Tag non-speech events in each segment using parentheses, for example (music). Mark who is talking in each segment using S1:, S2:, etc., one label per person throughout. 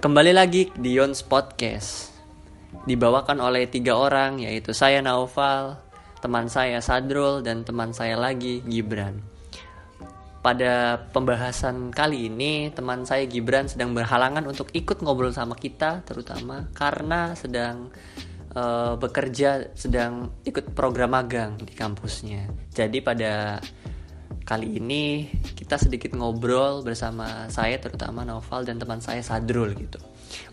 S1: Kembali lagi di Yons Podcast Dibawakan oleh tiga orang yaitu saya Naufal Teman saya Sadrul dan teman saya lagi Gibran Pada pembahasan kali ini teman saya Gibran sedang berhalangan untuk ikut ngobrol sama kita Terutama karena sedang eh, bekerja sedang ikut program magang di kampusnya Jadi pada Kali ini kita sedikit ngobrol bersama saya terutama Noval dan teman saya Sadrul gitu.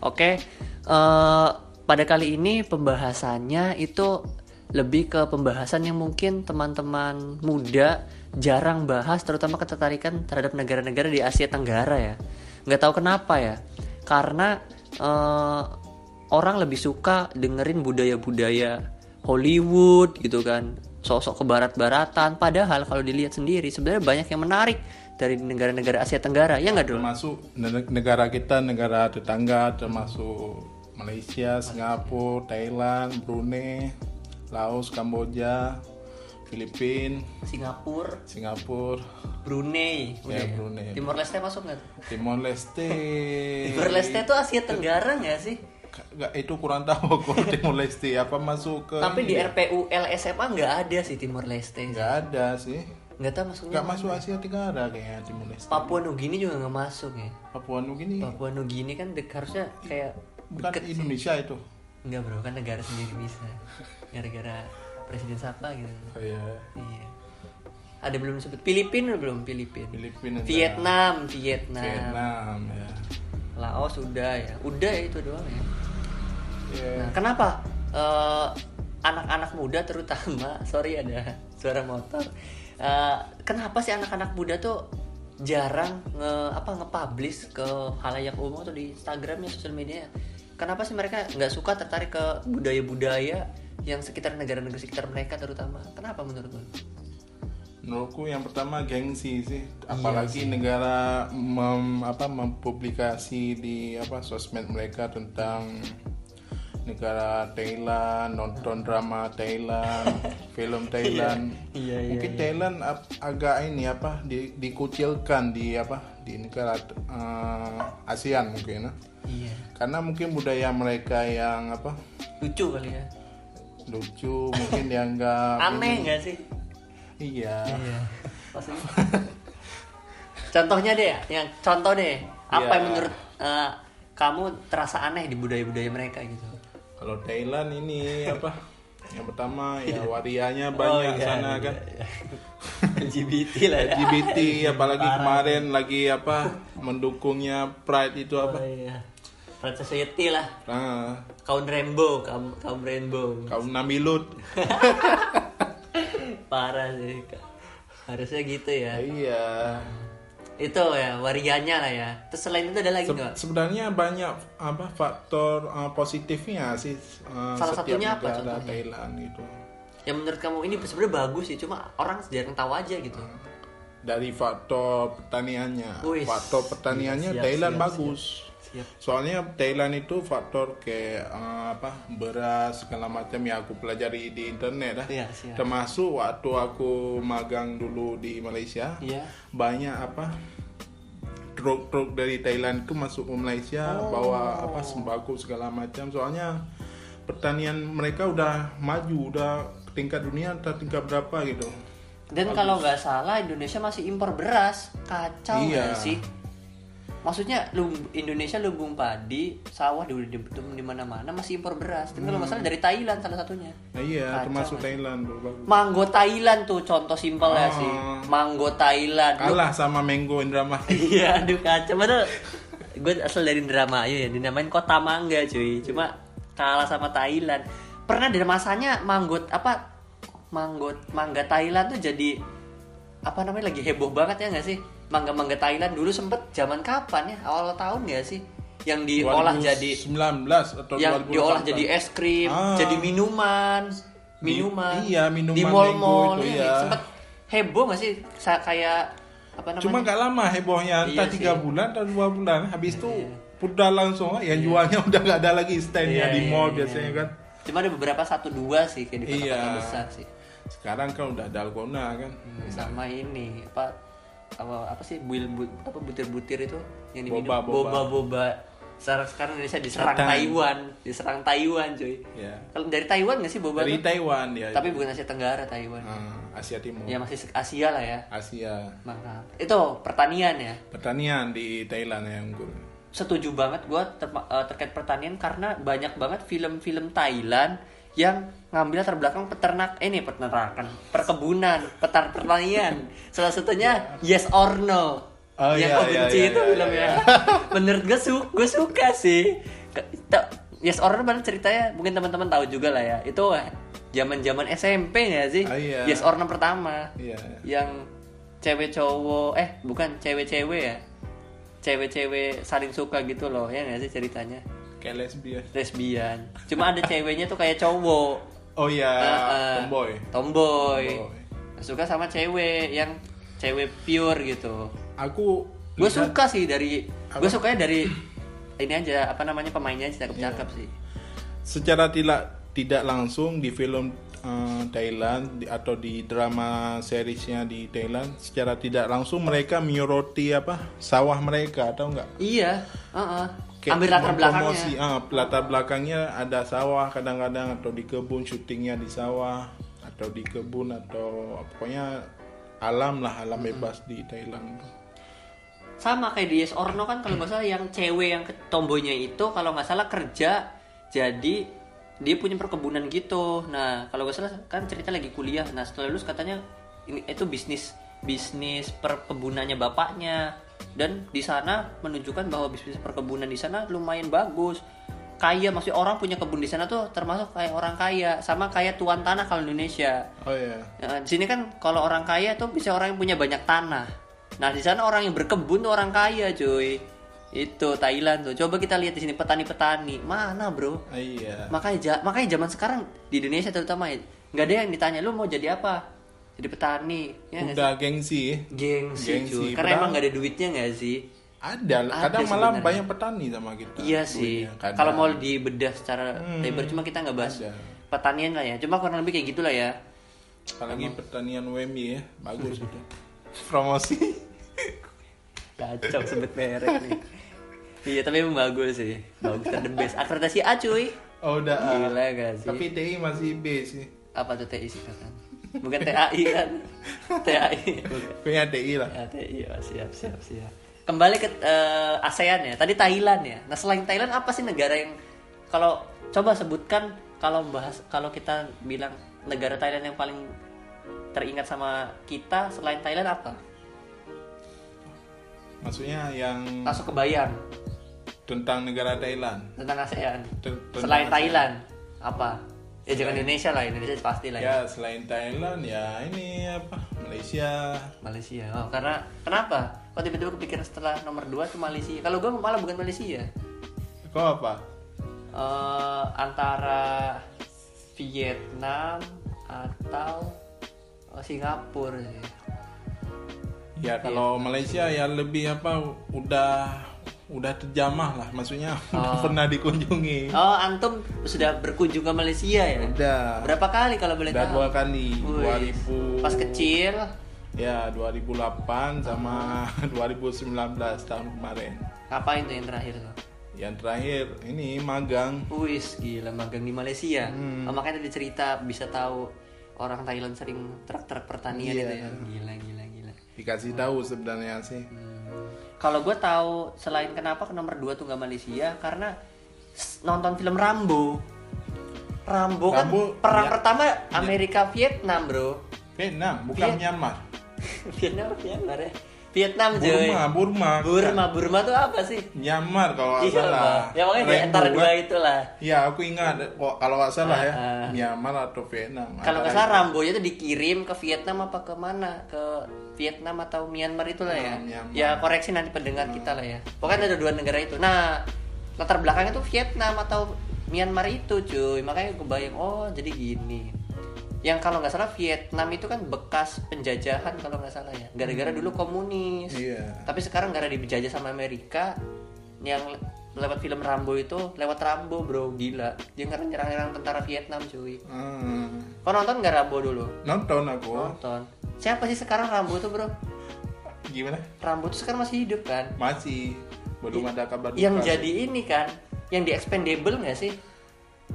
S1: Oke, eh, pada kali ini pembahasannya itu lebih ke pembahasan yang mungkin teman-teman muda jarang bahas terutama ketertarikan terhadap negara-negara di Asia Tenggara ya. Nggak tahu kenapa ya. Karena eh, orang lebih suka dengerin budaya-budaya Hollywood gitu kan sosok ke barat-baratan padahal kalau dilihat sendiri sebenarnya banyak yang menarik dari negara-negara Asia Tenggara ya nggak dong
S2: termasuk ne- negara kita, negara tetangga, termasuk Malaysia, Singapura, Thailand, Brunei, Laos, Kamboja, Filipina,
S1: Singapura
S2: Singapura,
S1: Brunei udah ya?
S2: Iya, Brunei. Iya.
S1: Timor Leste masuk nggak tuh?
S2: Timor Leste.
S1: Timor Leste tuh Asia Tenggara nggak sih
S2: Ka- nggak, itu kurang tahu kok (laughs) Timor Leste apa masuk ke
S1: tapi di
S2: ini.
S1: RPU LSMA nggak ada sih Timor Leste
S2: nggak ada sih.
S1: nggak tahu masuknya
S2: Nggak masuk Asia Tenggara kayaknya Timor Leste.
S1: Papua Nugini juga nggak masuk ya
S2: Papua Nugini
S1: Papua Nugini kan dek- harusnya kayak
S2: Iya. bukan Indonesia itu.
S1: nggak bro kan negara sendiri bisa gara-gara presiden siapa gitu
S2: Oh, iya.
S1: Iya. Ada belum sebut Filipina belum Filipina.
S2: Filipina,
S1: Vietnam, Vietnam.
S2: Vietnam ya.
S1: Laos udah ya. Udah ya itu doang ya.
S2: Iya.
S1: Nah, kenapa eh, anak-anak muda terutama, (laughs) sorry ada suara motor. Eh, kenapa sih anak-anak muda tuh jarang nge apa nge-publish ke halayak umum atau di Instagramnya, sosial media? ya? Kenapa sih mereka nggak suka tertarik ke budaya-budaya yang sekitar negara-negara sekitar mereka terutama? Kenapa menurut lo?
S2: Menurutku yang pertama gengsi sih,
S1: Iya
S2: apalagi negara mem, apa mempublikasi di apa sosmed mereka tentang negara Thailand, nonton drama
S1: (laughs)
S2: Thailand, film Thailand.
S1: Iya, iya,
S2: Mungkin Thailand ap- agak ini apa di, dikucilkan di apa di negara eh, ASEAN mungkin. ya.
S1: Iya.
S2: Karena mungkin budaya mereka yang apa
S1: Lucu kali ya.
S2: lucu, mungkin dianggap
S1: aneh nggak sih
S2: Iya.
S1: iya (laughs) contohnya deh ya, yang contoh deh apa
S2: Iya.
S1: yang menurut eh, kamu terasa aneh di budaya-budaya mereka gitu
S2: Kalau Thailand
S1: (laughs)
S2: ini apa? Yang pertama ya warianya banyak
S1: iya,
S2: sana
S1: iya,
S2: kan.
S1: iya. (laughs) LGBT lah ya
S2: LGBT
S1: (laughs)
S2: apalagi kemarin lagi apa mendukungnya Pride itu
S1: Oh,
S2: apa?
S1: iya. Red Society lah
S2: Nah,
S1: kaum rainbow kaum kaum rainbow
S2: kaum Namilut.
S1: parah sih harusnya gitu ya
S2: Iya.
S1: itu ya warianya lah ya terus selain itu ada lagi nggak
S2: Sebenarnya banyak apa faktor uh, positifnya sih uh,
S1: Salah
S2: setiap
S1: satunya apa
S2: negara
S1: contohnya?
S2: Thailand itu.
S1: yang menurut kamu ini sebenarnya bagus sih cuma orang jarang tahu aja gitu
S2: Dari faktor pertaniannya.
S1: Wih,
S2: faktor
S1: Iya,
S2: pertaniannya
S1: siap,
S2: Thailand
S1: siap,
S2: bagus.
S1: siap.
S2: Soalnya Thailand itu faktor kayak eh, apa beras segala macam yang aku pelajari di internet lah.
S1: Iya, siap.
S2: Termasuk waktu aku magang dulu di Malaysia,
S1: Iya.
S2: banyak apa truk-truk dari Thailand ke masuk ke Malaysia
S1: Oh.
S2: bawa apa sembako segala macam. Soalnya pertanian mereka udah maju, udah ke tingkat dunia atau tingkat berapa gitu.
S1: Dan kalau nggak salah Indonesia masih impor beras, kacau nggak
S2: Iya.
S1: sih? Maksudnya lum- Indonesia lumbung padi, sawah di di, di mana-mana masih impor beras. Dan kalau nggak salah dari Thailand salah satunya.
S2: Nah, iya,
S1: Kacau,
S2: termasuk Thailand tuh, bagus.
S1: Manggo Thailand tuh contoh simpel ya
S2: Ah.
S1: sih. Manggo Thailand. Lu-
S2: Kalah sama Mango Indramayu.
S1: Iya, aduh kacau padahal gue asal dari Indramayu ya, dinamain kota mangga cuy. Cuma kalah sama Thailand. Pernah ada masanya manggot apa manggot mangga Thailand tuh jadi apa namanya lagi heboh banget ya nggak sih? Mangga-mangga Thailand dulu sempet zaman kapan ya? Awal tahun nggak sih? Yang diolah jadi
S2: 19 atau
S1: yang
S2: 2018.
S1: diolah jadi es krim,
S2: Ah.
S1: jadi minuman, minuman.
S2: Di- iya, minuman
S1: di mall-mall ya nggak
S2: mango itu,
S1: sih?
S2: iya.
S1: Sempet heboh nggak sih? Sa- kayak apa namanya?
S2: Cuma nggak lama hebohnya, entah
S1: Iya
S2: tiga
S1: sih. Iya,
S2: bulan atau dua bulan. Habis itu udah langsung yang jualnya (laughs) udah nggak ada lagi standnya
S1: Iya,
S2: di
S1: iya,
S2: mall
S1: iya.
S2: biasanya kan.
S1: Cuma ada beberapa satu dua sih kayak di kota-kota
S2: Iya.
S1: besar sih.
S2: Sekarang kan udah ada Dalgona kan.
S1: Sama ini apa apa, apa sih buil bu- apa butir-butir itu yang diminum
S2: Boba, boba.
S1: boba. Sekarang sekarang Indonesia diserang
S2: Datang.
S1: Taiwan, diserang Taiwan cuy.
S2: Ya.
S1: Kalau dari Taiwan nggak sih boba?
S2: Dari
S1: tuh?
S2: Taiwan ya.
S1: Tapi bukan Asia Tenggara Taiwan.
S2: Ah, Asia Timur.
S1: Ya masih Asia lah ya.
S2: Asia.
S1: Mantap. Itu pertanian ya.
S2: Pertanian di Thailand ya unggul.
S1: Setuju banget gue terkait pertanian karena banyak banget film-film Thailand yang ngambil latar belakang peternak eh, ini peternakan perkebunan petar pertanian
S2: (laughs)
S1: salah satunya Yes or No
S2: Oh,
S1: yang
S2: iya,
S1: kau
S2: iya,
S1: benci
S2: iya,
S1: itu
S2: iya,
S1: filmnya
S2: iya.
S1: (laughs) menurut gue su gue suka sih Ke- ta- Yes or No mana ceritanya mungkin teman-teman tahu juga lah ya itu zaman zaman SMP nggak sih
S2: Oh, iya.
S1: Yes or No pertama
S2: Iya.
S1: yang cewek cowok eh bukan cewek-cewek ya cewek-cewek saling suka gitu loh ya nggak sih ceritanya
S2: Kayak lesbian.
S1: lesbian cuma ada ceweknya tuh kayak cowok
S2: Oh ya,
S1: Eh, eh,
S2: tomboy.
S1: tomboy
S2: Tomboy.
S1: suka sama cewek yang cewek pure gitu
S2: Aku
S1: gue
S2: lihat-
S1: suka sih dari gue sukanya dari ini aja apa namanya pemainnya sih
S2: Iya.
S1: cakep-cakep sih
S2: secara tidak tidak langsung di film eh, Thailand di- atau di drama seriesnya di Thailand secara tidak langsung mereka menyoroti apa sawah mereka atau enggak
S1: iya heeh.
S2: Kayak
S1: ambil latar
S2: mempromosi,
S1: belakangnya
S2: ah, latar belakangnya ada sawah kadang-kadang atau di kebun syutingnya di sawah atau di kebun atau pokoknya alam lah alam bebas di Thailand
S1: sama kayak di Yes or No kan kalau nggak salah yang cewek yang ke- tomboynya itu kalau nggak salah kerja jadi dia punya perkebunan gitu nah kalau nggak salah kan cerita lagi kuliah nah setelah lulus katanya ini itu bisnis bisnis perkebunannya bapaknya dan di sana menunjukkan bahwa bisnis perkebunan di sana lumayan bagus kaya maksudnya orang punya kebun di sana tuh termasuk kayak orang kaya sama kayak tuan tanah kalau Indonesia
S2: oh ya
S1: Nah, di sini kan kalau orang kaya tuh bisa orang yang punya banyak tanah. Nah, di sana orang yang berkebun tuh orang kaya, cuy. Itu Thailand tuh. Coba kita lihat di sini petani-petani. Mana, Bro?
S2: Ah, iya
S1: Makanya ja- makanya zaman sekarang di Indonesia terutama ya, nggak ada yang ditanya lu mau jadi apa? Jadi petani. Ya nggak sih?
S2: udah gengsi
S1: Gengsi,
S2: Gengsi,
S1: cuy. Karena
S2: padahal-
S1: emang nggak ada duitnya nggak sih?
S2: ada,
S1: Ada
S2: kadang malah
S1: sebenarnya.
S2: banyak petani sama kita
S1: Iya sih.
S2: Punya, kadang.
S1: Kalau mau dibedah secara labor cuma kita nggak bahas
S2: Ada.
S1: pertanian lah ya. Cuma kurang lebih kayak gitulah ya.
S2: apalagi pertanian WMI ya (laughs) bagus itu promosi
S1: Kacau sebut merek nih. Iya tapi emang bagus sih. Bagus dan the best. Akreditasi A cuy.
S2: oh udah ah.
S1: Gila gak sih?
S2: tapi TI masih B sih
S1: Apa tuh TI sih kan? Bukan TAI kan? TAI. Bukan.
S2: punya TI lah
S1: Ya, TI. Oh, siap siap siap. Kembali ke eh, ASEAN ya. Tadi Thailand ya. Nah selain Thailand apa sih negara yang kalau coba sebutkan kalau bahas kalau kita bilang negara Thailand yang paling teringat sama kita selain Thailand apa?
S2: maksudnya yang
S1: Langsung kebayang
S2: tentang negara Thailand
S1: tentang ASEAN.
S2: Ter- tentang
S1: Selain
S2: ASEAN.
S1: Thailand apa? Ya jangan Indonesia lah, Indonesia pasti lah. Ya.
S2: ya selain Thailand ya ini apa Malaysia
S1: Malaysia. Oh, karena kenapa? Kok tiba-tiba kepikiran setelah nomor 2 tuh Malaysia? Kalau gue malah bukan Malaysia.
S2: kok apa
S1: Eh, antara Vietnam atau eh, Singapura sih. Iya.
S2: ya kalau Malaysia ya lebih apa udah udah terjamah lah maksudnya (laughs)
S1: Ah.
S2: udah pernah dikunjungi
S1: Oh, antum sudah berkunjung ke Malaysia ya?
S2: udah
S1: Berapa kali kalau boleh
S2: udah
S1: tahu?
S2: dua kali
S1: Wih,
S2: 2000
S1: Pas kecil.
S2: Ya, 2008 sama (laughs) 2019 tahun kemarin.
S1: Ngapain tuh yang terakhir tuh?
S2: Yang terakhir ini magang.
S1: Wis gila magang di Malaysia.
S2: Hmm.
S1: Oh, makanya tadi cerita bisa tahu orang Thailand sering truk-truk pertanian
S2: Iya.
S1: itu ya. Gila gila gila.
S2: Dikasih tahu sebenarnya sih.
S1: Hmm. Kalau gue tahu selain kenapa ke nomor 2 tuh nggak Malaysia karena s- nonton film Rambo. Rambo, kan
S2: Rambo,
S1: perang
S2: iya.
S1: pertama Amerika Vietnam, Bro. (laughs)
S2: Vietnam, bukan
S1: Viet-
S2: Myanmar.
S1: Vietnam Myanmar ya. Vietnam Joy.
S2: Burma, Burma.
S1: Burma, Burma tuh apa sih?
S2: Myanmar kalau nggak
S1: Iya,
S2: salah.
S1: Bang. ya makanya di
S2: Rainbow
S1: antara dua
S2: kan?
S1: itulah.
S2: Iya, aku ingat kok kalau nggak salah ya.
S1: Ah, ah.
S2: Myanmar atau Vietnam.
S1: Kalau nggak
S2: Antara
S1: salah Rambonya itu dikirim ke Vietnam apa ke mana? Ke Vietnam atau Myanmar itulah ya.
S2: Hmm, Myanmar. Hmm.
S1: Ya koreksi nanti pendengar kita lah ya. Pokoknya ada dua negara itu. Nah, latar belakangnya tuh Vietnam atau Myanmar itu, cuy. Makanya kebayang oh jadi gini. Yang kalau nggak salah Vietnam itu kan bekas penjajahan kalau nggak salah ya. Gara-gara dulu komunis.
S2: Hmm. Iya.
S1: Tapi sekarang gara dijajah sama Amerika yang le- lewat film Rambo itu lewat Rambo bro gila dia nyerang-nyerang tentara Vietnam cuy
S2: Hmm.
S1: Kau nonton nggak Rambo dulu?
S2: Nonton aku.
S1: Nonton. Siapa sih sekarang Rambo tuh bro?
S2: Gimana?
S1: Rambo tuh sekarang masih hidup kan?
S2: Masih belum ada kabar
S1: yang
S2: duka.
S1: jadi ini kan yang di expendable nggak sih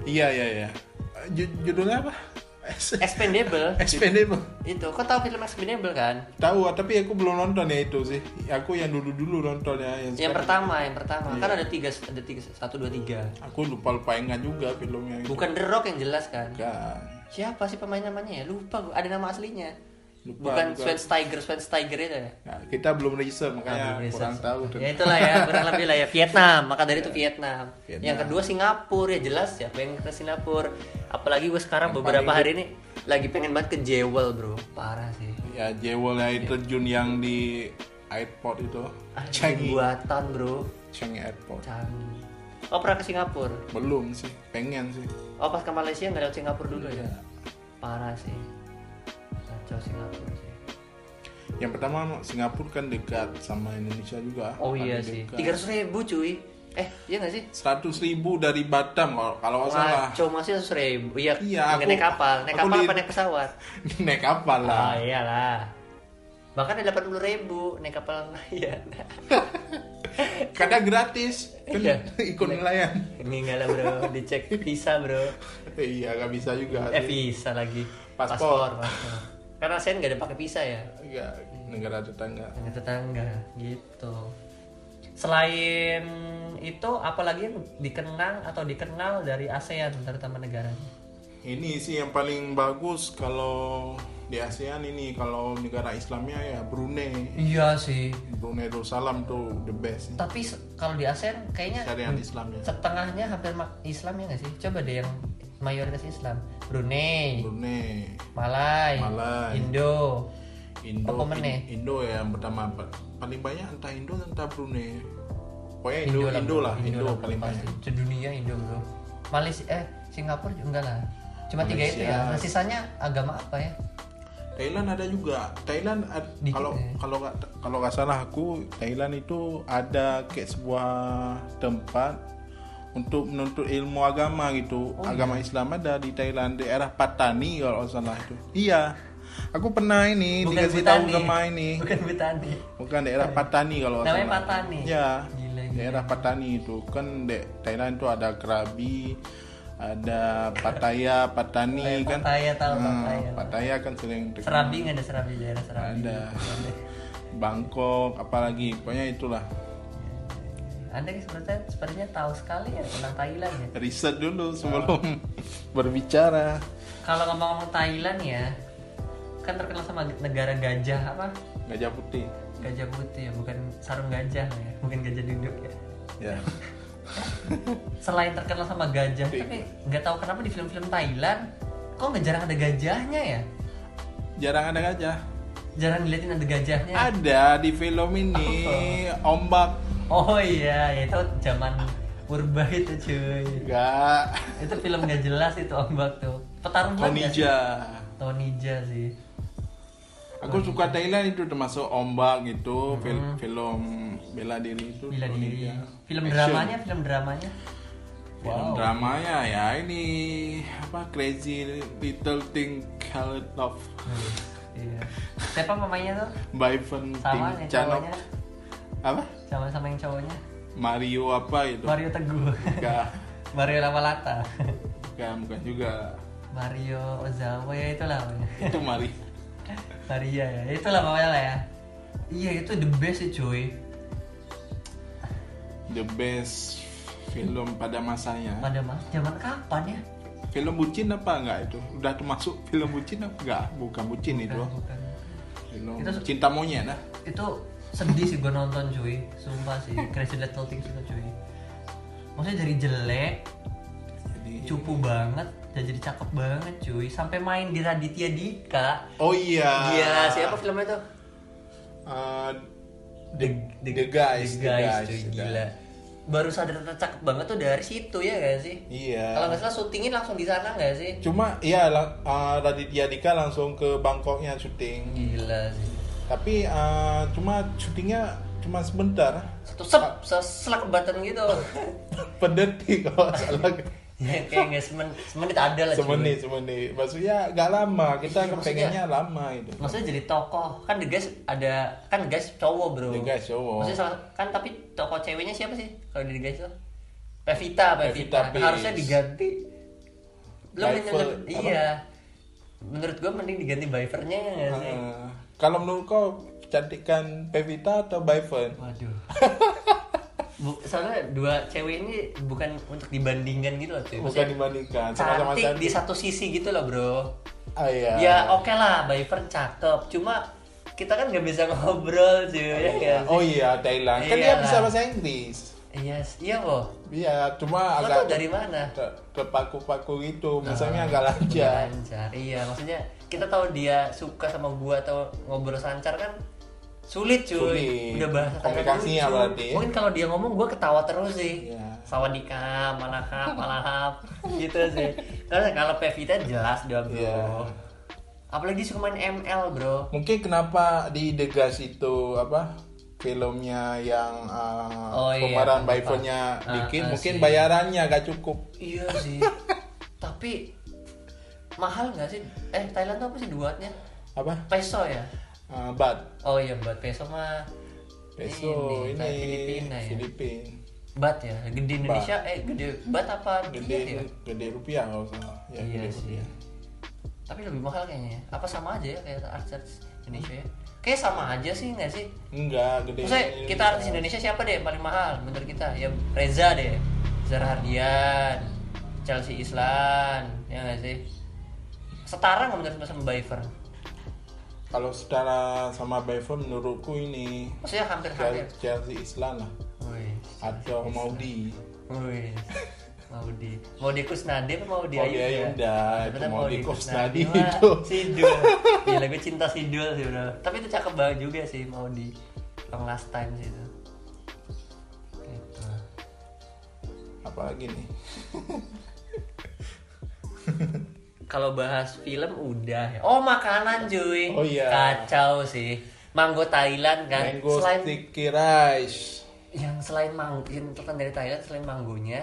S2: iya iya iya Eh, ju- judulnya apa (laughs)
S1: expendable
S2: expendable
S1: itu kau tahu film expendable kan
S2: tahu tapi aku belum nonton ya itu sih aku yang dulu dulu nonton ya yang,
S1: yang
S2: sekarang.
S1: pertama yang
S2: Iya.
S1: pertama kan ada tiga ada tiga satu dua tiga
S2: aku lupa lupa ingat juga filmnya itu.
S1: bukan The Rock yang jelas kan
S2: Bukan.
S1: siapa sih pemain namanya ya lupa gua. ada nama aslinya
S2: Lupa,
S1: bukan
S2: bukan.
S1: Sven Steiger Sven Steiger itu ya
S2: Nah, kita belum riset
S1: Ah,
S2: makanya
S1: Belum
S2: kurang
S1: research.
S2: tahu
S1: ya
S2: tentang-
S1: itulah ya kurang lebih lah ya Vietnam maka dari itu Vietnam.
S2: Vietnam.
S1: yang kedua Singapura ya jelas ya pengen ke Singapura apalagi gue sekarang
S2: Yang
S1: beberapa
S2: paling-
S1: hari ini lagi pengen banget ke Jewel bro parah sih
S2: ya jewel air terjun yang di airport itu
S1: Anjing
S2: Changi
S1: buatan bro
S2: Changi airport
S1: canggih oh pernah ke Singapura
S2: belum sih pengen sih
S1: oh pas ke Malaysia nggak lewat Singapura dulu ya
S2: Iya.
S1: parah sih kacau Singapura sih
S2: yang pertama Singapura kan dekat sama Indonesia juga
S1: oh iya sih tiga ratus ribu cuy eh iya nggak sih
S2: seratus ribu dari Batam kalau kalau nggak Oh, salah
S1: Ngaco masih seratus ribu iya,
S2: Iya, aku-
S1: naik kapal naik
S2: aku
S1: kapal
S2: di-
S1: apa naik pesawat
S2: (laughs) naik kapal lah
S1: Ah iyalah. Bahkan ada 80 ribu naik kapal (laughs) nelayan.
S2: kadang gratis kan
S1: Iya.
S2: ikut nelayan
S1: Enggak lah bro, dicek visa bro.
S2: iya nggak bisa juga
S1: Eh
S2: sih.
S1: visa lagi.
S2: Paspor.
S1: paspor. Karena saya nggak ada pakai visa ya.
S2: Iya, negara tetangga
S1: Dengan tetangga gitu. Selain itu, apalagi yang dikenang atau dikenal dari ASEAN terutama negaranya.
S2: ini sih yang paling bagus kalau di ASEAN ini kalau negara Islamnya ya Brunei
S1: Iya sih.
S2: Brunei Darussalam tuh the best sih.
S1: Tapi se- kalau di ASEAN kayaknya hmm,
S2: syariat ya. Islamnya
S1: setengahnya hampir ma- Islam ya nggak sih? Coba deh yang mayoritas Islam. Brunei,
S2: Brunei
S1: Malai,
S2: Malai.
S1: Indo.
S2: Indo
S1: Apa meneh?
S2: In- Indo ya yang pertama pa- paling banyak entah Indo entah Brunei pokoknya Eh, Indo Indo, lah Indo,
S1: lah,
S2: paling
S1: pasti.
S2: banyak
S1: Sedunia Indo bro. Malaysia eh Singapura juga enggak lah. Cuma tiga itu ya.
S2: Malaysia.
S1: Nah, sisanya agama apa ya?
S2: Thailand ada juga Thailand ad-
S1: Dikit
S2: kalau
S1: ya.
S2: kalau nggak kalau nggak salah aku Thailand itu ada kayak sebuah tempat untuk menuntut ilmu agama gitu
S1: Oh, iya.
S2: agama Islam ada di Thailand daerah Patani kalau nggak salah itu iya aku pernah ini dikasih tahu
S1: Butani.
S2: sama ini
S1: Bukan Butani.
S2: bukan daerah Patani kalau nggak
S1: Namanya
S2: salah.
S1: Patani?
S2: ya
S1: Gila, gila.
S2: daerah Patani itu kan di Thailand itu ada Krabi ada Pattaya Patani
S1: Eh,
S2: kan
S1: Pattaya tahu
S2: Nah,
S1: Pattaya.
S2: Pattaya kan sering terkenal.
S1: Serabi nggak ada Serabi daerah Serabi.
S2: ada Bangkok apalagi pokoknya itulah
S1: Anda sebenarnya sepertinya tahu sekali ya tentang Thailand ya.
S2: riset dulu sebelum
S1: (laughs)
S2: berbicara
S1: Kalau ngomong-ngomong Thailand ya, kan terkenal sama negara gajah apa?
S2: gajah putih
S1: Gajah putih ya, bukan sarung gajah ya, bukan gajah duduk ya.
S2: ya
S1: Selain terkenal sama gajah,
S2: Iya.
S1: tapi nggak tahu kenapa di film-film Thailand kok nggak jarang ada gajahnya ya?
S2: jarang ada gajah
S1: Jarang diliatin ada gajahnya.
S2: ada di film ini ombak
S1: Oh iya, ya itu zaman purba itu cuy.
S2: enggak
S1: Itu film nggak jelas itu ombak tuh. Petarung juga sih.
S2: konija
S1: Tonija sih.
S2: aku suka Thailand itu termasuk ombak gitu fil- film bela diri itu
S1: Bila Hmm. diri.
S2: Indonesia.
S1: Film
S2: Action.
S1: dramanya, film dramanya.
S2: film dramanya ya ini apa crazy little thing called love
S1: Hmm, iya. Siapa mamanya tuh?
S2: by Van Tim
S1: Sama yang
S2: Chanok
S1: cowoknya.
S2: apa
S1: Sama sama yang cowoknya.
S2: Mario apa itu
S1: Mario Teguh. (laughs)
S2: bukan
S1: Mario Lawalata.
S2: bukan bukan juga
S1: Mario Ozawa ya itulah (laughs) namanya.
S2: itu Mario
S1: Maria ya. Itulah pokoknya lah ya. Iya, itu the best sih cuy.
S2: the best film pada masanya
S1: Pada mas zaman kapan ya?
S2: film bucin apa enggak itu udah termasuk film bucin apa enggak bukan bucin itu
S1: Bukan.
S2: film
S1: Itu-
S2: cinta monyet nah
S1: Itu sedih sih gue nonton cuy. Sumpah sih, Crazy Little Things itu cuy. Maksudnya dari jelek,
S2: jadi
S1: cupu banget, dan jadi cakep banget cuy. Sampai main di Raditya Dika.
S2: oh iya
S1: Gila, siapa filmnya tuh?
S2: Uh, the, the, guys, the guys,
S1: cuy,
S2: the
S1: gila.
S2: guys.
S1: Baru sadar tercakap banget tuh dari situ ya gak sih?
S2: Iya.
S1: Kalau nggak salah syutingin langsung di sana gak sih?
S2: Cuma ya la- uh, Raditya Dika langsung ke Bangkoknya syuting.
S1: Gila sih.
S2: Tapi uh, cuma syutingnya cuma sebentar. (laughs)
S1: (laughs) Satu sep, seselak banten gitu.
S2: Per detik kalau nggak salah.
S1: Ya, kayak nggak semen- semenit ada lah. cuy.
S2: semenit semenit maksudnya gak lama kita
S1: Iya, maksudnya-
S2: pengennya lama gitu
S1: Maksudnya jadi tokoh kan the guys ada kan the guys cowok bro.
S2: The guys oh. cowok.
S1: Maksudnya salah- kan tapi tokoh ceweknya siapa sih kalau di the guys tuh? Pevita,
S2: Pevita
S1: Pevita.
S2: Peace.
S1: Harusnya diganti. Belum
S2: Biver,
S1: menurut
S2: apa?
S1: iya. Menurut gua mending diganti Bivernya ya nggak sih?
S2: Eh, kalau menurut kau cantikan Pevita atau Byfern
S1: Waduh. Bu, soalnya dua cewek ini bukan untuk dibandingkan gitu loh. cuy.
S2: bukan
S1: Maksudnya
S2: dibandingkan sama-sama
S1: Cantik di
S2: cantik
S1: satu sisi gitu loh bro.
S2: ah, iya.
S1: Ya oke lah, Byvern cakep. Cuma kita kan nggak bisa (laughs) ngobrol cuy. ya nggak sih?
S2: oh iya Thailand kan dia
S1: Iyalah.
S2: bisa bahasa Inggris
S1: Iya, yes, iya kok.
S2: iya
S1: Lo
S2: cuma
S1: tau
S2: agak
S1: dari Ah. mana?
S2: ter- terpaku-paku gitu misalnya agak lancar
S1: Lancar. Iya, maksudnya kita tahu dia suka sama gua atau ngobrol sancar kan sulit cuy.
S2: Sulit.
S1: Udah bahasa Thailand
S2: Komunikasinya
S1: lucu.
S2: berarti ya.
S1: Mungkin kalau dia ngomong gua ketawa terus sih.
S2: Iya.
S1: Sawadika, malahap, malahap (laughs) gitu sih. Terus kalau Pevita jelas dia bro.
S2: Iya.
S1: Apalagi suka main ML bro.
S2: mungkin kenapa di The Gas itu apa filmnya yang
S1: Oh,
S2: uh,
S1: iya,
S2: pemeran
S1: apa-apa.
S2: Byfernnya
S1: Ah,
S2: dikit
S1: ah,
S2: mungkin
S1: sih.
S2: bayarannya gak cukup
S1: Iya sih.
S2: (laughs)
S1: Tapi mahal nggak sih? Eh Thailand tuh apa sih duatnya?
S2: apa
S1: Peso ya?
S2: uh, bat
S1: Oh iya buat peso mah
S2: peso ini,
S1: Ini, Filipina ya?
S2: Filipina
S1: bat ya. Gede Indonesia eh gede bat apa
S2: gede
S1: gede ya?
S2: gede rupiah kalau salah ya
S1: Iya
S2: gede
S1: sih.
S2: rupiah
S1: Tapi lebih mahal kayaknya. ya. Apa sama aja ya kayak artis Indonesia ya? Kayak sama aja sih nggak sih?
S2: enggak gede
S1: Maksudnya kita artis Indonesia siapa deh yang paling mahal menurut kita? Ya Reza deh, Zara Hardian, Chelsea Islan, ya nggak sih? Setara nggak menurut lo sama Byver?
S2: kalau secara sama Byfern menurutku ini
S1: Maksudnya hampir-hampir.
S2: Chelsea Islam lah
S1: Wih,
S2: atau Maudi
S1: wih. Mau di mau di Kusnadi apa ya? mau di
S2: Mau di Ayunda, itu
S1: Sebenarnya
S2: mau di Kusnadi
S1: Wah,
S2: itu.
S1: Sidul. Gila gue cinta Sidul sih bro. Tapi itu cakep banget juga sih mau di long last time sih itu. Gitu.
S2: apalagi nih
S1: Kalau bahas film udah ya. Oh makanan cuy.
S2: Oh, iya.
S1: Kacau sih. Manggo Thailand kan.
S2: mango
S1: selain
S2: sticky rice
S1: yang selain manggo yang terkenal dari Thailand selain manggonya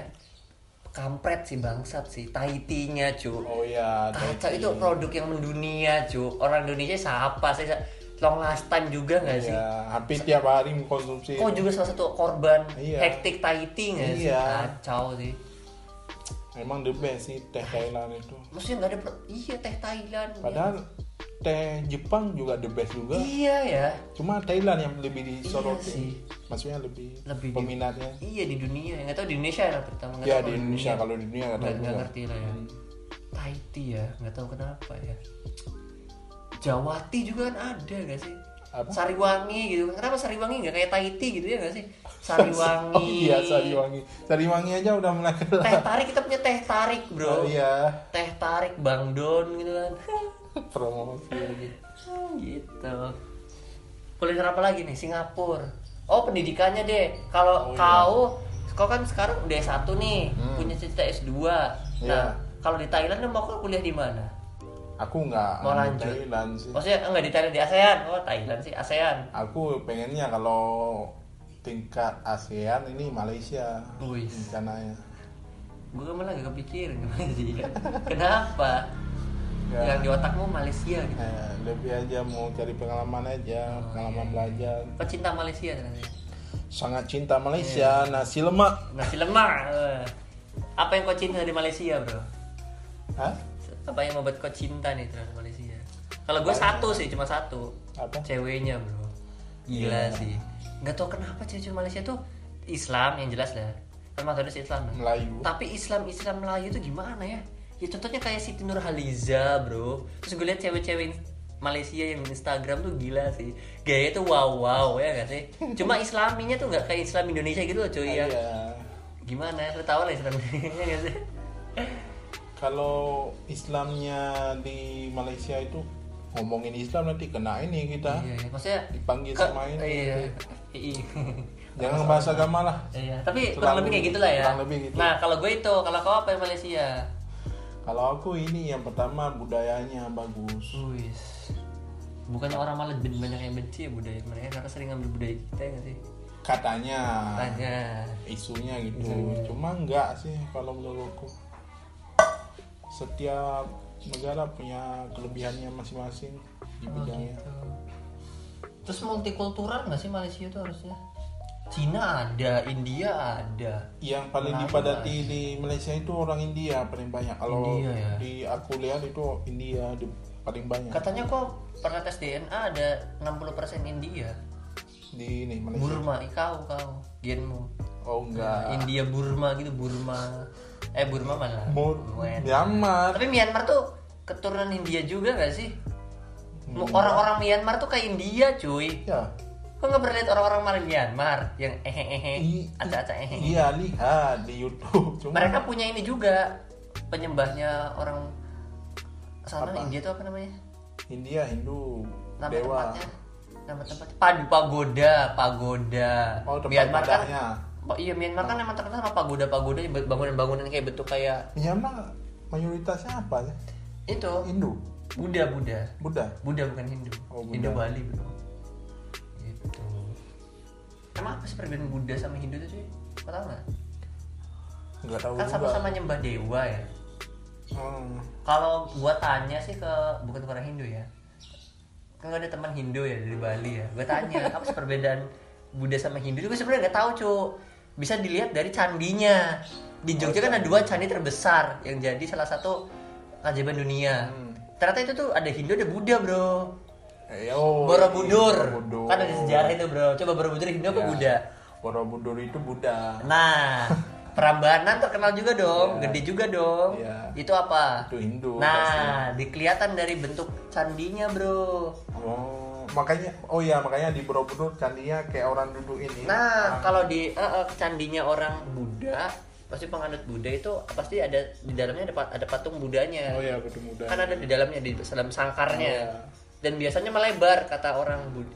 S1: kampret sih bangsat sih taitinya cuy.
S2: oh ya
S1: Kaca Ah, itu produk yang mendunia cu Orang Indonesia siapa sih Long last time juga gak sih
S2: ya hampir tiap hari mengkonsumsi
S1: Kok juga salah satu korban
S2: Iya.
S1: hektik Tahiti gak sih
S2: Iya.
S1: Kacau sih
S2: emang the best sih teh Thailand itu
S1: Maksudnya gak ada pro- Iya teh Thailand
S2: padahal teh Jepang juga the best juga
S1: Iya ya
S2: cuma Thailand yang lebih
S1: Iya sih.
S2: disoroti maksudnya lebih,
S1: Lebih di-
S2: peminatnya
S1: Iya di dunia Gak tau di Indonesia ya pertama Nggak
S2: ya
S1: tahu
S2: di Indonesia kalau di dunia
S1: nggak
S2: nggak
S1: nggak
S2: tahu juga.
S1: ngerti lah ya Tahiti ya Gak tau kenapa ya Jawati juga kan ada gak sih
S2: Apa?
S1: Sariwangi gitu Kenapa Sariwangi gak kayak Tahiti gitu ya
S2: (laughs)
S1: gak sih Sariwangi
S2: oh (laughs) iya Sariwangi Sariwangi aja udah mulai kenal
S1: teh tarik kita punya teh tarik bro
S2: oh iya
S1: teh tarik bang don gitu kan
S2: promosi lagi
S1: gitu kuliner apa lagi nih Singapura oh pendidikannya deh
S2: Oh,
S1: kalau
S2: iya. Hmm.
S1: kau kau kan sekarang udah S1 nih punya cita S2
S2: Iya.
S1: nah kalau di Thailand mau kau kuliah di mana
S2: aku nggak
S1: Mau
S2: ambil
S1: lanjut? Oh.
S2: Thailand sih
S1: maksudnya enggak di Thailand di ASEAN oh Thailand sih ASEAN
S2: aku pengennya kalau tingkat ASEAN ini Malaysia ya.
S1: Wih.
S2: rencananya
S1: gue malah gak kepikiran (laughs) Malaysia. kenapa
S2: Ya.
S1: yang di otakmu Malaysia gitu
S2: Eh, lebih aja mau cari pengalaman aja pengalaman belajar
S1: pecinta Malaysia ternyata
S2: sangat cinta Malaysia nasi lemak
S1: Nasi lemak. eh. Apa yang kau cinta dari Malaysia, bro?
S2: Hah?
S1: Apa yang membuat kau cinta nih terhadap Malaysia? Kalau gue satu sih, cuma satu.
S2: apa
S1: Ceweknya, bro. Gila sih. Nggak tau kenapa cewek-cewek Malaysia tuh Islam yang jelas lah. Kan metode Islam. lah.
S2: Melayu
S1: Tapi Islam Islam Melayu tuh gimana ya? Ya contohnya kayak Siti Nurhaliza, bro. Terus gue liat cewek-cewek Malaysia yang di Instagram tuh gila sih. Gaya tuh wow wow ya gak sih? Cuma Islaminya tuh nggak kayak Islam Indonesia gitu loh cuy ya
S2: iya
S1: gimana ya lu tau lah Islam Indonesia nggak sih
S2: kalau Islamnya di Malaysia itu ngomongin Islam nanti kena ini kita
S1: iya maksudnya
S2: dipanggil
S1: ke-
S2: sama ini
S1: iya iya (laughs)
S2: jangan bahas agama lah
S1: Iya, tapi
S2: Kurang
S1: kurang lebih kayak gitulah ya.
S2: kurang lebih gitu.
S1: Nah, kalau gue itu, kalau kau apa yang Malaysia?
S2: kalau aku ini yang pertama budayanya bagus
S1: Wis. Bukannya orang malah ben- banyak yang benci ya budaya mereka karena sering ngambil budaya kita ya nggak sih?
S2: katanya
S1: Tanya. Hmm.
S2: isunya gitu cuma enggak sih kalau menurutku setiap negara punya kelebihannya masing-masing di
S1: Oh,
S2: bidangnya.
S1: gitu. Terus multikultural nggak sih Malaysia itu harusnya? Cina ada, India ada.
S2: Yang paling
S1: Menarik,
S2: dipadati di Malaysia itu orang India paling banyak. Kalau
S1: India, ya? Kan
S2: di aku lihat itu India di- paling banyak
S1: Katanya kok pernah tes DNA ada 60% India.
S2: di ini Malaysia.
S1: Burma, ih, kau kau genmu.
S2: Oh enggak.
S1: India Burma gitu, Burma. Eh Burma mana?
S2: Mur
S1: Myanmar.
S2: Myanmar.
S1: Tapi Myanmar tuh keturunan India juga gak sih?
S2: Iya.
S1: Mu- Orang-orang Myanmar tuh kayak India cuy (laughs)
S2: Ya.
S1: Kok gak pernah liat orang-orang mar- Myanmar yang ehehehe,
S2: I-
S1: aca-aca ehehe
S2: Iya lihat di YouTube. Cuma
S1: Mereka punya ini juga Penyembahnya orang sana India tuh apa namanya?
S2: India Hindu
S1: Nama
S2: dewa.
S1: tempatnya Nama tempatnya Padu Pagoda Pagoda
S2: Oh tempat
S1: Myanmar kan
S2: ibadahnya.
S1: Oh, iya Myanmar kan emang terkenal sama pagoda-pagoda bangunan-bangunan kayak bentuk kayak
S2: Myanmar mayoritasnya apa ya?
S1: itu
S2: Hindu,
S1: Buddha-Buddha
S2: Buddha.
S1: Buddha bukan Hindu.
S2: Oh, Buddha.
S1: Hindu Bali bro. Gitu. Emang apa sih perbedaan Buddha sama Hindu itu cuy? Kau tahu nggak?
S2: Enggak tahu
S1: Kan
S2: juga.
S1: sama-sama nyembah dewa ya.
S2: Hmm.
S1: Kalau gua tanya sih ke bukan ke orang Hindu ya. Kan gua ada teman Hindu ya dari Bali ya. Gua
S2: (laughs)
S1: tanya apa sih perbedaan Buddha sama Hindu? Gua sebenarnya nggak tahu cuy. Bisa dilihat dari candinya. Di
S2: Oh,
S1: Jogja kan ada dua candi terbesar yang jadi salah satu keajaiban dunia.
S2: Hmm.
S1: Ternyata itu tuh ada Hindu ada Buddha bro.
S2: Eh, oh,
S1: Borobudur.
S2: iya, Borobudur.
S1: Kan ada sejarah itu, Bro. Coba Borobudur Hindu apa
S2: Ya.
S1: Buddha?
S2: Borobudur itu Buddha.
S1: Nah, Prambanan terkenal juga dong, gede juga dong.
S2: Iya.
S1: Itu apa?
S2: Itu Hindu
S1: Nah, dikelihatan dari bentuk candinya, Bro.
S2: Oh, makanya oh ya makanya di Borobudur candinya kayak orang duduk ini. Ah.
S1: Nah, kalau di eh, eh, candinya orang Buddha, pasti penganut Buddha itu pasti ada di dalamnya ada, pa- ada patung Budanya.
S2: Oh ya betul muda.
S1: kan ada di dalamnya di dalam sangkarnya
S2: Iya.
S1: dan biasanya melebar kata orang Bud-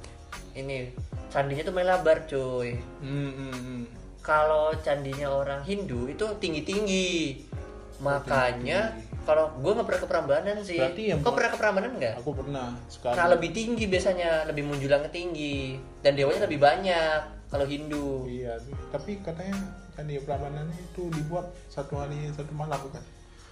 S1: ini candinya tuh melebar cuy
S2: Hmm, hmm, hmm.
S1: kalau candinya orang Hindu itu tinggi tinggi makanya kalau gue nggak pernah ke Prambanan sih
S2: Oh, Berarti yang
S1: kau
S2: buat-
S1: pernah ke Prambanan nggak
S2: Aku pernah sekali.
S1: nah lebih tinggi biasanya lebih menjulang ke tinggi dan dewanya lebih banyak kalau Hindu
S2: Iya, tapi katanya candi Prambanan itu dibuat satu hari satu malam bukan?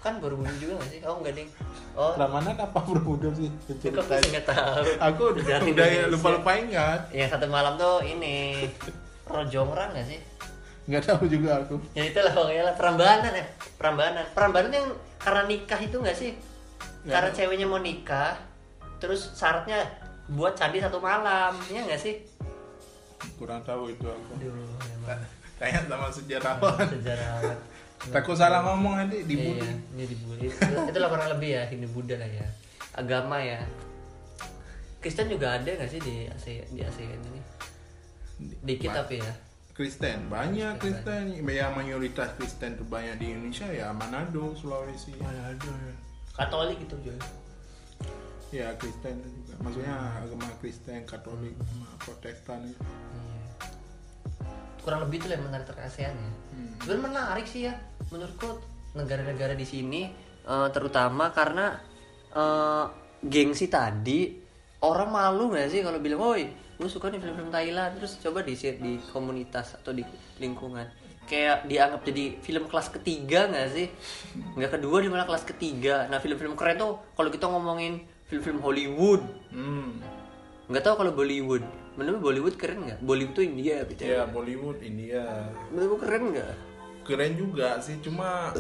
S1: kan baru bunyi juga nggak sih oh nggak ding oh
S2: Prambanan apa Borobudur sih?
S1: itu kok
S2: Ceritain.
S1: nggak tahu
S2: Aku udah kan?
S1: Jati Indonesia.
S2: lupa lupa ingat.
S1: yang satu malam tuh ini Rojongran nggak sih
S2: Nggak tahu juga aku.
S1: ya itulah pokoknya lah perambanan ya perambanan perambanan yang karena nikah itu nggak sih
S2: Nggak
S1: karena
S2: ada.
S1: ceweknya mau nikah terus syaratnya buat candi satu malam ya nggak sih
S2: Kurang tahu itu aku.
S1: aduh emang
S2: Tanya sama (laughs) sejarawan.
S1: sejarawan
S2: Takut salah ngomong nanti dibully.
S1: Iya, ini dibully Itu- itulah kurang lebih ya Hindu Buddha lah ya agama ya Kristen juga ada nggak sih di ASEAN di ASEAN ini dikit tapi ya
S2: Kristen banyak Kristen ya mayoritas Kristen terbanyak di Indonesia ya Manado Sulawesi
S1: Katolik itu juga
S2: ya Kristen juga maksudnya agama Kristen Katolik sama Protestan ya.
S1: Iya. kurang lebih itu lah yang menarik dari ASEAN ya sebenarnya menarik sih ya menurutku negara-negara di sini eh, terutama karena eh, gengsi tadi orang malu nggak sih kalau bilang woi gue suka nih film-film Thailand terus coba di share di komunitas atau di lingkungan kayak dianggap jadi film kelas ketiga nggak sih nggak kedua di mana kelas ketiga nah film-film keren tuh kalau kita ngomongin film-film Hollywood
S2: hmm
S3: Nggak tahu kalau Bollywood. Menurut Bollywood keren nggak? Bollywood tuh India, gitu.
S2: ya Bollywood India
S3: Menurut lu keren nggak?
S2: keren juga sih cuma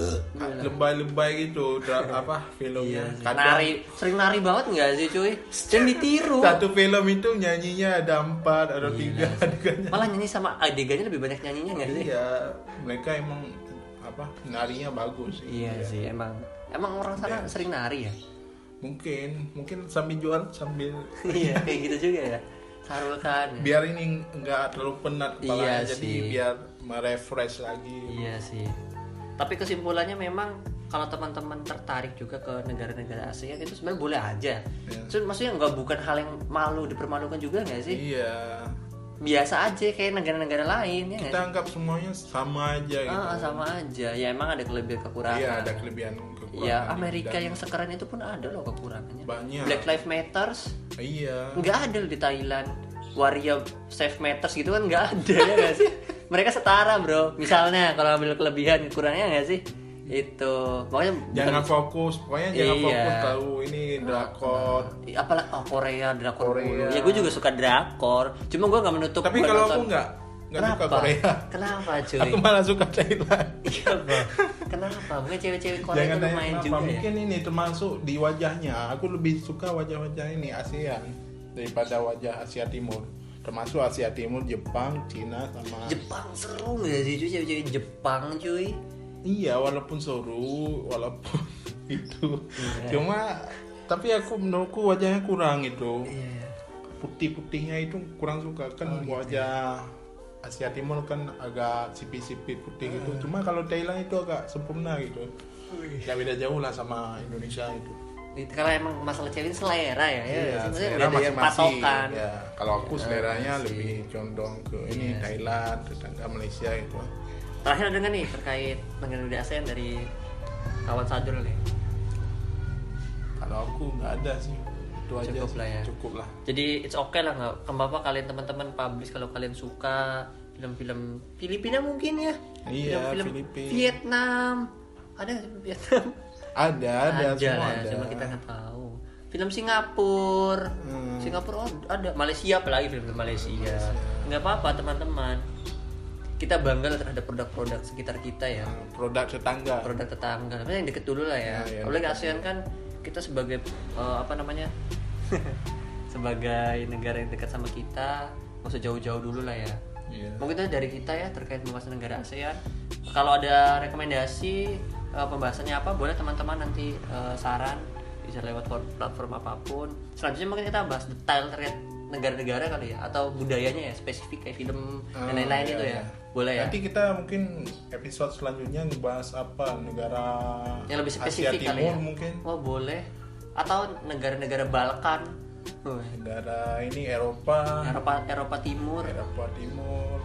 S2: lebay-lebay gitu dra- apa filmnya Kadang
S3: Nari, Iya, sering nari banget nggak sih cuy? Dan ditiru.
S2: satu film itu nyanyinya ada empat (laughs) ada tiga adegannya
S3: Malah nyanyi sama adegannya lebih banyak nyanyinya nggak sih?
S2: iya mereka emang apa narinya bagus sih
S3: Iya sih, emang. Emang orang sana sering nari ya? (laughs)
S2: mungkin mungkin sambil jual sambil
S3: Iya, kayak gitu juga ya. Sarulkan.
S2: biar ini nggak terlalu penat kepalanya
S3: Iya
S2: jadi
S3: sih.
S2: biar merefresh lagi
S3: Iya sih. Tapi kesimpulannya memang kalau teman-teman tertarik juga ke negara-negara ASEAN itu sebenarnya boleh aja. Cuma maksudnya nggak bukan hal yang malu dipermalukan juga nggak sih?
S2: iya
S3: Biasa aja kayak negara-negara lain ya nggak
S2: kita anggap semuanya sama aja gitu
S3: Ah, sama aja. Ya emang ada kelebihan kekurangan.
S2: iya ada kelebihan kekurangan gitu kan.
S3: Ya,
S2: di
S3: Amerika
S2: bidang.
S3: yang sekarang itu pun ada loh kekurangannya.
S2: Banyak.
S3: Black Lives Matters
S2: iya
S3: nggak ada loh di Thailand. Waria Save Matters gitu kan nggak ada ya nggak sih? Mereka setara bro. Misalnya kalau ambil kelebihan kekurangannya nggak sih?
S1: itu makanya
S2: jangan fokus pokoknya jangan
S1: Iya.
S2: fokus tahu ini drakor
S1: apalah oh, Korea drakor
S2: Korea.
S1: Korea. ya gue juga suka drakor cuma gue nggak menutup
S2: tapi
S1: gua
S2: kalau aku
S1: nonton-
S2: nggak nggak
S1: kenapa
S2: suka Korea
S1: kenapa cuy
S2: aku malah suka Thailand
S1: iya bro kenapa mungkin cewek-cewek Korea
S2: Jangan
S1: itu
S2: tanya
S1: lumayan
S2: kenapa,
S1: juga ya
S2: mungkin ini termasuk di wajahnya. Aku lebih suka wajah-wajah ini ASEAN daripada wajah Asia Timur. Termasuk Asia Timur, Jepang, Cina sama
S1: Jepang seru gak sih cuy cewek-cewek Jepang cuy
S2: Iya, walaupun seru, walaupun (laughs) itu.
S1: Iya.
S2: Cuma tapi aku menurutku wajahnya kurang itu.
S1: iya
S2: Putih-putihnya itu kurang suka
S1: Oh,
S2: kan
S1: gitu ya.
S2: wajah Asia Timur kan agak sipit-sipit putih
S1: Eh.
S2: gitu. Cuma kalau Thailand itu agak sempurna gitu. Gak beda jauh lah sama Indonesia itu.
S1: Itu karena emang masalah cewek selera ya, ya
S2: Iya,
S1: maksudnya
S2: selera
S1: udah ada yang
S2: masing-masing.
S1: patokan Iya,
S2: Ya, kalau aku seleranya lebih condong ke ini Thailand, tetangga Malaysia gitu.
S1: terakhir ada nggak nih terkait negara-negara ASEAN dari kawan Sadrul nih
S2: Kalau aku nggak ada sih. Itu aja.
S1: Cukup
S2: sih,
S1: lah ya.
S2: Cukup lah.
S1: jadi it's okay lah nggak apa kalian teman-teman publish kalau kalian suka film-film Filipina mungkin ya
S2: Iya,
S1: film-film
S2: Filipina.
S1: Vietnam ada nggak sih Vietnam
S2: Ada, ada, semua
S1: ya,
S2: ada.
S1: cuma kita nggak tahu film Singapura
S2: Hmm.
S1: Singapura oh, ada Malaysia apalagi film-film Malaysia nggak apa-apa teman-teman kita bangga lah terhadap produk-produk sekitar kita ya
S2: Nah, Produk tetangga.
S1: produk tetangga tapi yang deket dulu lah ya,
S2: Ya, ya,
S1: apalagi ASEAN kan kita sebagai eh, apa namanya (laughs) sebagai negara yang dekat sama kita nggak usah jauh-jauh dulu lah ya
S2: Iya.
S1: mungkin itu dari kita ya terkait pembahasan negara ASEAN kalau ada rekomendasi eh, pembahasannya apa boleh teman-teman nanti eh, saran bisa lewat por- platform apapun selanjutnya mungkin kita bahas detail terkait negara-negara kali ya atau budayanya ya spesifik kayak film dan
S2: Ah,
S1: lain-lain
S2: iya,
S1: itu ya
S2: iya.
S1: boleh ya
S2: Nanti kita mungkin episode selanjutnya ngebahas apa negara
S1: yang lebih
S2: Asia
S1: spesifik
S2: Timur
S1: kali ya
S2: mungkin
S1: oh boleh atau negara-negara Balkan Wih,
S2: negara ini Eropa,
S1: Eropa Eropa Timur
S2: Eropa Timur.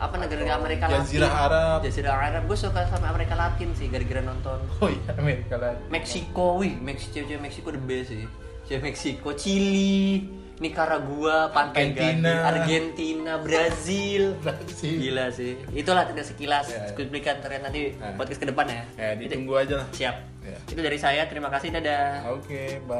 S1: apa negara-negara Amerika Latin
S2: Jazirah Arab.
S1: Jazirah Arab gue suka sama Amerika Latin sih gara-gara nonton
S2: Oh iya Amerika Latin.
S1: Meksiko wih Meksiko cewek Meksiko the best sih cewek Meksiko Chili Nicaragua Pantai
S2: Argentina.
S1: Gading, Argentina Brazil
S2: Brazil.
S1: gila sih itulah tidak sekilas
S2: Ya, ya.
S1: cuplikan terkait nanti
S2: Ya.
S1: podcast ke depan ya
S2: Ya, ditunggu aja lah.
S1: siap
S2: Ya.
S1: itu dari saya terima kasih dadah
S2: Okay, bye.